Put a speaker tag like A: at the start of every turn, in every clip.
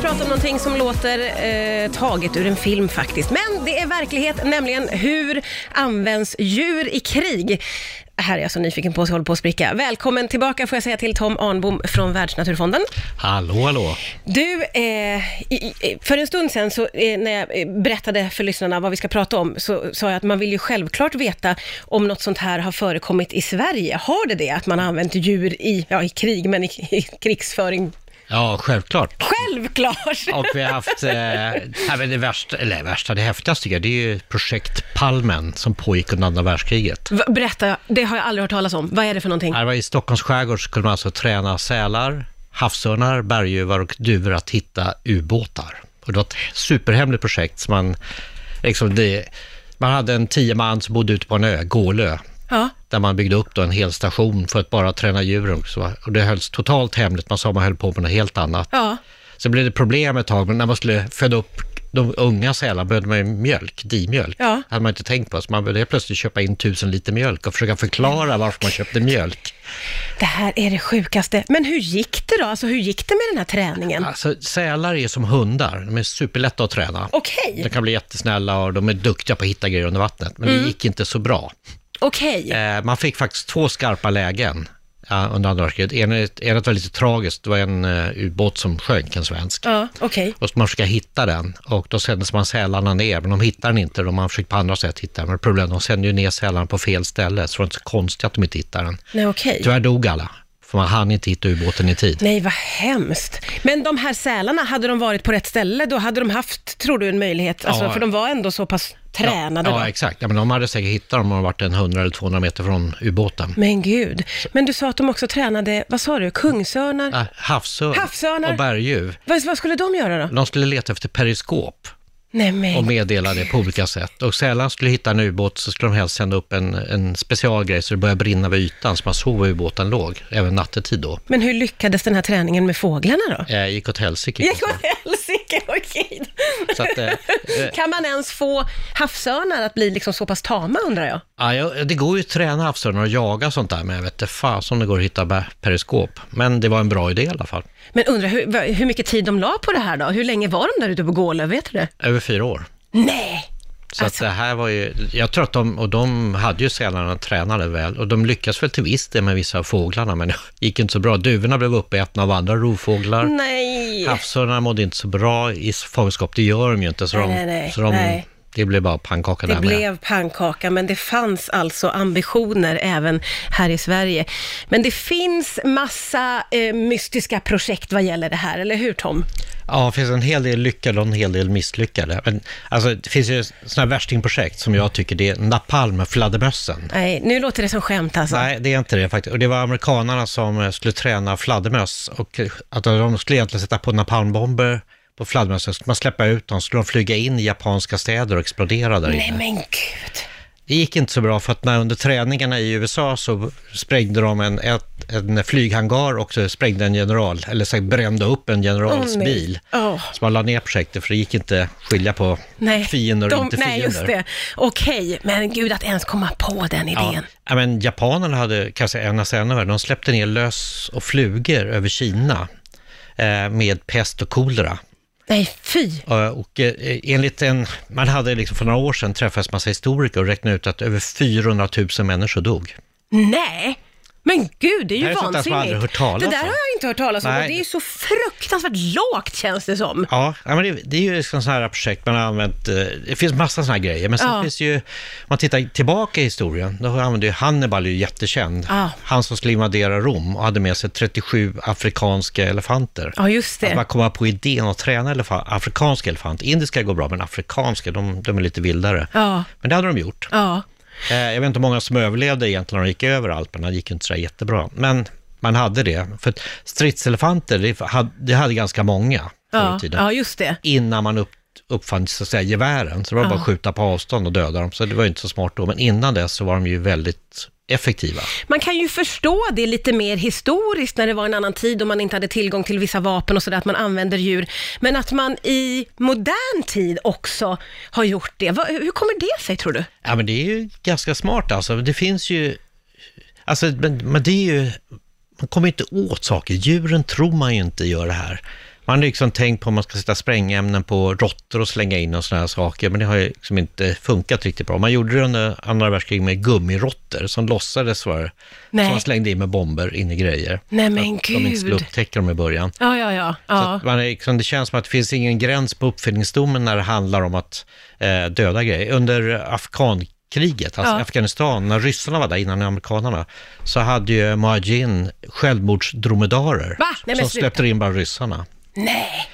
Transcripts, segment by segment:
A: prata om någonting som låter eh, taget ur en film faktiskt. Men det är verklighet, nämligen hur används djur i krig? Här är jag så nyfiken på så jag håller på att spricka. Välkommen tillbaka får jag säga till Tom Arnbom från Världsnaturfonden.
B: Hallå, hallå.
A: Du, eh, i- i- för en stund sedan så, eh, när jag eh, berättade för lyssnarna vad vi ska prata om så sa jag att man vill ju självklart veta om något sånt här har förekommit i Sverige. Har det det? Att man har använt djur i, ja, i krig, men i, i krigsföring?
B: Ja, självklart.
A: Självklart!
B: Och vi har haft, eh, nej, men det värsta, eller värsta, det häftigaste tycker jag, det är ju projekt Palmen som pågick under andra världskriget.
A: V- Berätta, det har jag aldrig hört talas om. Vad är det för någonting?
B: Här var I Stockholms skärgård skulle man alltså träna sälar, havsörnar, berguvar och duvor att hitta ubåtar. Och det var ett superhemligt projekt. Som man, liksom, det, man hade en tio man som bodde ute på en ö, Gålö,
A: Ja.
B: där man byggde upp då en hel station för att bara träna djuren också. Och det hölls totalt hemligt, man sa man höll på med något helt annat.
A: Ja.
B: Så blev det problem ett tag, men när man skulle föda upp de unga sälarna behövde man ju mjölk, dimjölk.
A: Ja.
B: hade man inte tänkt på, så man behövde helt plötsligt köpa in tusen liter mjölk och försöka förklara varför man köpte mjölk.
A: Det här är det sjukaste. Men hur gick det då? Alltså hur gick det med den här träningen?
B: Alltså, sälar är som hundar, de är superlätta att träna.
A: Okej,
B: De kan bli jättesnälla och de är duktiga på att hitta grejer under vattnet, men det gick inte så bra.
A: okej.
B: Eh, man fick faktiskt två skarpa lägen eh, under andra världskriget. Enet, enet var lite tragiskt, det var en eh, ubåt som sjönk, en svensk.
A: Ja, okej.
B: Och så man försöka hitta den och då sändes man sälarna ner, men de hittar den inte. De har försökt på andra sätt hitta den, men problemet är att de sände ju ner sälarna på fel ställe, så det var inte så konstigt att de inte hittade den.
A: Nej, okej.
B: Tyvärr dog alla, för man hann inte hitta ubåten i tid.
A: Nej, vad hemskt. Men de här sälarna, hade de varit på rätt ställe, då hade de haft, tror du, en möjlighet? Alltså,
B: Ja.
A: för de var ändå så pass tränade
B: Ja,
A: då.
B: exakt. Ja, men de hade säkert hittat dem om de hade varit en 100 eller 200 meter från ubåten.
A: Men gud. Men du sa att de också tränade, vad sa du, kungsörnar?
B: Äh, havsörn
A: Havsörnar.
B: och berguv.
A: Vad, vad skulle de göra då?
B: De skulle leta efter periskop
A: Nej,
B: och
A: men...
B: meddela det på olika sätt. Och sällan skulle hitta en ubåt så skulle de helst sända upp en, en specialgrej så det började brinna vid ytan så man såg var ubåten låg, även nattetid då.
A: men hur lyckades den här träningen med fåglarna då?
B: Eh, gick åt helsike.
A: Jag går helsike, okej.
B: Så att, eh, eh,
A: Kan man ens få havsörnar att bli liksom så pass tama undrar jag?
B: ja, ja, det går ju att träna havsörnar och jaga sånt där, men jag vet inte fasen om det går att hitta bä- periskop. Men det var en bra idé i alla fall.
A: Men undrar hur, vad- hur mycket tid de la på det här då? Hur länge var de där ute på Gålöv, vet du det?
B: Över fyra år.
A: Nej!
B: Så
A: Alltså.
B: att det här var ju, jag tror att de, och de hade ju sälarna tränade väl, och de lyckades väl till viss del med vissa av fåglarna, men det gick inte så bra. Duvorna blev uppätna av andra rovfåglar.
A: Mm, Nej!
B: Havsörnarna mådde inte så bra i fångenskap, det gör de ju inte, så,
A: Nej,
B: de,
A: nej, nej,
B: så de,
A: nej.
B: det blev bara pannkaka
A: Det
B: där med.
A: blev pannkaka, men det fanns alltså ambitioner även här i Sverige. Men det finns massa eh, mystiska projekt vad gäller det här, eller hur Tom?
B: Ja, det finns en hel del lyckade och en hel del misslyckade. Men, alltså, det finns ju sådana här värstingprojekt som jag tycker, det är napalm-fladdermössen.
A: Nej, nu låter det som skämt alltså.
B: Nej, det är inte det faktiskt. Och det var amerikanarna som eh, skulle träna fladdermöss och eh, att de skulle egentligen sätta på napalmbomber på fladdermössen, skulle man släppa ut dem, skulle de flyga in i japanska städer och explodera där
A: Nej
B: inne.
A: men gud!
B: Det gick inte så bra för att när under träningarna i USA så sprängde de en, ett, en flyghangar och så sprängde en general, eller så brände upp en generals
A: Åh, nej.
B: bil.
A: Åh.
B: Så man la ner projektet för det gick inte skilja på
A: Nej,
B: fiender och
A: de-
B: inte fiender.
A: Nej, just det. Okej, men gud att ens komma på den
B: Ja.
A: idén.
B: Ja, men japanerna hade kanske en nästan ännu värre. De släppte ner lös och flugor över Kina eh, med pest och kolera.
A: Nej, fy!
B: Eh, Och eh, enligt en, man hade liksom för några år sedan träffats massa historiker och räknat ut att över 400 000 människor dog.
A: Nej! Men gud, det är ju
B: Det här är sånt där
A: vansinnigt.
B: som jag aldrig hört talas
A: det där
B: om.
A: har jag inte hört talas om
B: Nej.
A: och det är ju så fruktansvärt lågt känns det som.
B: Ja, ja, men det, det är ju liksom sådana här projekt man har använt. eh, Det finns massa sådana här grejer, men sen
A: Ja.
B: finns det ju, om man tittar tillbaka i historien, då använde ju Hannibal, är ju jättekänd,
A: Ja.
B: han som skulle invadera Rom och hade med sig 37 afrikanska elefanter.
A: Ja, just
B: Att man
A: det.
B: kommer på idén att träna elefa- afrikanska elefant. Indiska går bra, men afrikanska, de, de är lite vildare.
A: Ja.
B: Men det hade de gjort.
A: Ja.
B: Eh, jag vet inte hur många som överlevde egentligen när de gick över Alperna, det gick ju inte så där jättebra. Men man hade det. För att stridselefanter, det hade, det hade ganska många förr
A: Ja.
B: i tiden.
A: ja, just det.
B: Innan man upp, uppfann så att säga, gevären, så det var bara att skjuta på avstånd och döda dem. Så det var ju inte så smart då, men innan dess så var de ju väldigt effektiva.
A: Man kan ju förstå det lite mer historiskt när det var en annan tid och man inte hade tillgång till vissa vapen och sådär, att man använder djur. Men att man i modern tid också har gjort det. Vad- hur kommer det sig tror du?
B: Ja, men det är ju ganska smart alltså. Det finns ju... Alltså, men, men det är ju... Man kommer ju inte åt saker. Djuren tror man ju inte gör det här. Man har liksom tänkt på om man ska sätta sprängämnen på råttor och slänga in och sådana här saker, men det har ju liksom inte funkat riktigt bra. Man gjorde det under andra världskriget med gummiråttor som låtsades vara,
A: Nej.
B: som man slängde in med bomber in i grejer.
A: Nej, men
B: att de inte skulle
A: gud.
B: upptäcka dem i början.
A: Ja, ja, ja.
B: Så
A: ja.
B: att man är, liksom, det känns som att det finns ingen gräns på uppfinningsdomen när det handlar om att eh, döda grejer. Under afghankriget, alltså
A: Ja.
B: Afghanistan, när ryssarna var där innan amerikanerna, så hade ju Muajin självmordsdromedarer
A: Va? Nej, men
B: som
A: sluta.
B: släppte in bland ryssarna.
A: Nej.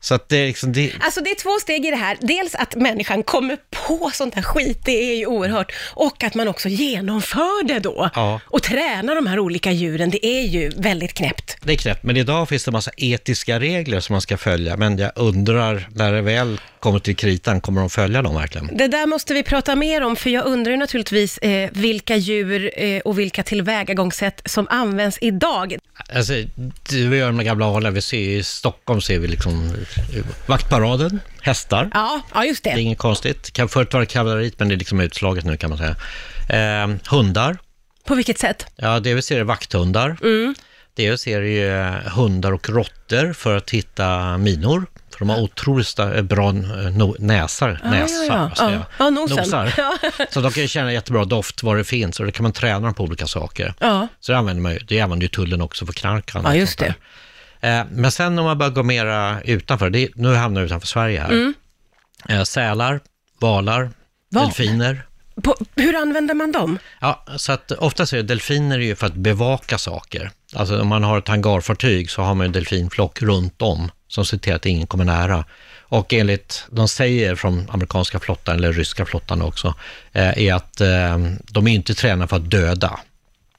B: Så att det är liksom, det,
A: Alltså det är två steg i det här. Dels att människan kommer på sånt här skit, det är ju oerhört. Och att man också genomför det då.
B: Ja.
A: Och tränar de här olika djuren, det är ju väldigt knäppt.
B: det är knäppt. Men idag finns det en massa etiska regler som man ska följa, men jag undrar när det väl kommer till kritan, kommer de följa dem verkligen?
A: Det där måste vi prata mer om, för jag undrar ju naturligtvis eh, vilka djur eh, och vilka tillvägagångssätt som används idag.
B: Alltså, du och jag, de gamla anorna, vi ser ju i Stockholm ser vi liksom eh, vaktparaden, hästar.
A: Ja, ja just
B: Det är
A: det.
B: inget konstigt. Kan förut vara kavallerit, men det är liksom utslaget nu kan man säga. Eh, hundar.
A: På vilket sätt?
B: Ja, det vi ser är vakthundar. Mm. Det vi ser är ju eh, hundar och råttor för att hitta minor. För de har otroligt sta- eh, bra eh, no- näsar.
A: Ja,
B: näsar,
A: ja, ja.
B: vad säger
A: Ja.
B: jag?
A: Ja, nosen.
B: Nosar.
A: Ja.
B: Så de kan ju känna jättebra doft var det finns och det kan man träna dem på olika saker.
A: Ja,
B: Så det använder man ju. Det använder ju tullen också för knarkan.
A: ja just det.
B: Eh, Men sen om man börjar gå mera utanför, det, nu hamnar jag utanför Sverige här.
A: Mm.
B: Eh, Sälar, valar,
A: Val.
B: delfiner.
A: På, hur använder man dem?
B: Ja, så att oftast är det delfiner är ju för att bevaka saker. Alltså om man har ett hangarfartyg så har man ju en delfinflock runt om som ser till att ingen kommer nära. Och enligt, de säger från amerikanska flottan, eller ryska flottan också, eh, är att eh, de är inte tränade för att döda,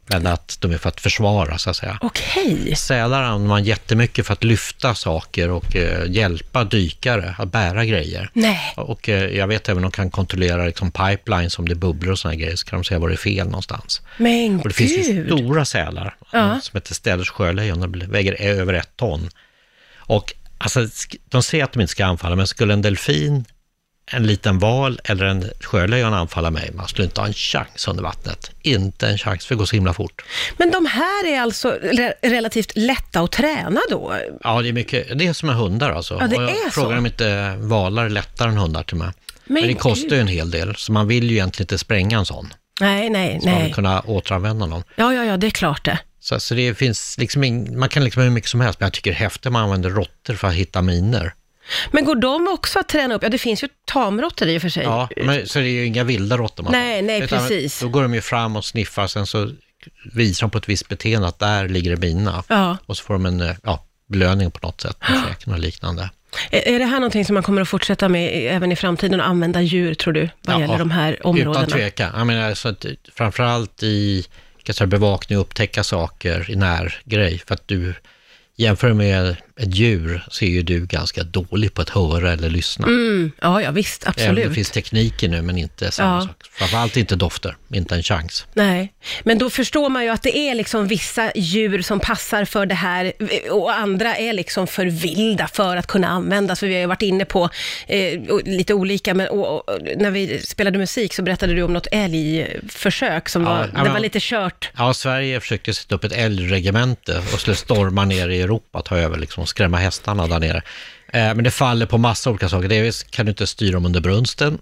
B: men att de är för att försvara så att säga.
A: Okej.
B: Sälar använder man jättemycket för att lyfta saker och eh, hjälpa dykare att bära grejer.
A: Nej.
B: Och eh, jag vet även att de kan kontrollera liksom, pipelines om det är bubblor och sådana grejer, så kan de se var det är fel någonstans.
A: Men
B: Och det
A: gud.
B: finns ju stora sälar, eh, som heter städers sjölejon, de väger ö- över ett ton. Och alltså, sk- de säger att de inte ska anfalla, men skulle en delfin, en liten val eller en sjölejon anfalla mig, man skulle inte ha en chans under vattnet. Inte en chans, för det går så himla fort.
A: Men de här är alltså re- relativt lätta att träna då?
B: Ja, det är, mycket, det är som med hundar alltså.
A: Ja, det
B: Och jag
A: är så.
B: frågar om inte valar är lättare än hundar till och med. Men, det
A: gud.
B: kostar ju en hel del, så man vill ju egentligen inte spränga en sån.
A: Nej, nej,
B: Man vill
A: nej.
B: kunna återanvända någon.
A: Ja, ja, ja, det är klart det.
B: Så, så det finns liksom ing, man kan liksom hur mycket som helst, men jag tycker det är häftigt att man använder råttor för att hitta miner.
A: Men går de också att träna upp? Ja, det finns ju tamråttor i och för sig.
B: Ja, men, så det är ju inga vilda råttor man
A: Nej,
B: får.
A: nej, precis.
B: Då går de ju fram och sniffar, sen så visar de på ett visst beteende att där ligger det mina.
A: Ja.
B: Och så får de en eh, ja, belöning på något sätt, med käken och liknande.
A: Är är det här någonting som man kommer att fortsätta med i- även i framtiden och använda djur, tror du, vad
B: Ja,
A: gäller de här områdena?
B: Utan tvekan. Jag menar, så att, framförallt i kan jag säga, bevakning och upptäcka saker i närgrej. För att du jämför med ett djur så är ju du ganska dålig på att höra eller lyssna.
A: Mm, ja, ja, visst,
B: Även om det
A: absolut.
B: finns tekniker nu, men inte samma
A: Ja.
B: sak. Framförallt inte dofter, inte en chans.
A: Nej, men då förstår man ju att det är liksom vissa djur som passar för det här eh, och andra är liksom för vilda för att kunna användas. För vi har ju varit inne på eh, och lite olika, men och, och, och när vi spelade musik så berättade du om något älgförsök som
B: Ja,
A: var,
B: ja,
A: det
B: men-
A: var lite kört.
B: Ja, Sverige försökte sätta upp ett älgregemente och skulle storma ner i Europa, ta över liksom, och skrämma hästarna där nere. Eh, men det faller på massa olika saker. Delvis kan du inte styra dem under brunsten,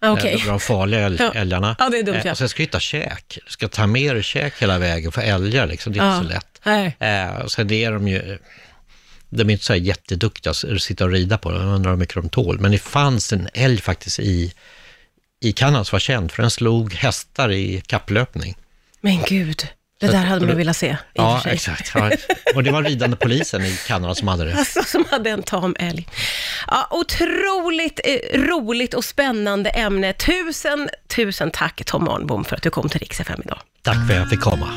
A: Ah,
B: Okay.
A: Okej.
B: Det var Eh, de farliga äl-
A: Ja.
B: älgarna.
A: Ja, det är dumt,
B: Eh,
A: ja.
B: Och sen ska du hitta käk. Du ska ta med dig käk hela vägen för älgar, liksom. det är
A: Ja.
B: inte så lätt.
A: Nej.
B: Eh, och sen är de ju... De är inte så här jätteduktiga att sitta och rida på. Jag undrar hur mycket de tål. Men det fanns en älg faktiskt i, i Kanada som var känd, för den slog hästar i kapplöpning.
A: Men gud, det där hade man ju velat se. I och
B: Ja,
A: för sig.
B: exakt. Ja. Och det var ridande polisen i Kanada som hade det.
A: Alltså som hade en tam älg. Ja, otroligt eh, roligt och spännande ämne. Tusen, tusen tack Tom Arnbom för att du kom till Rix FM idag.
B: Tack för att jag fick komma.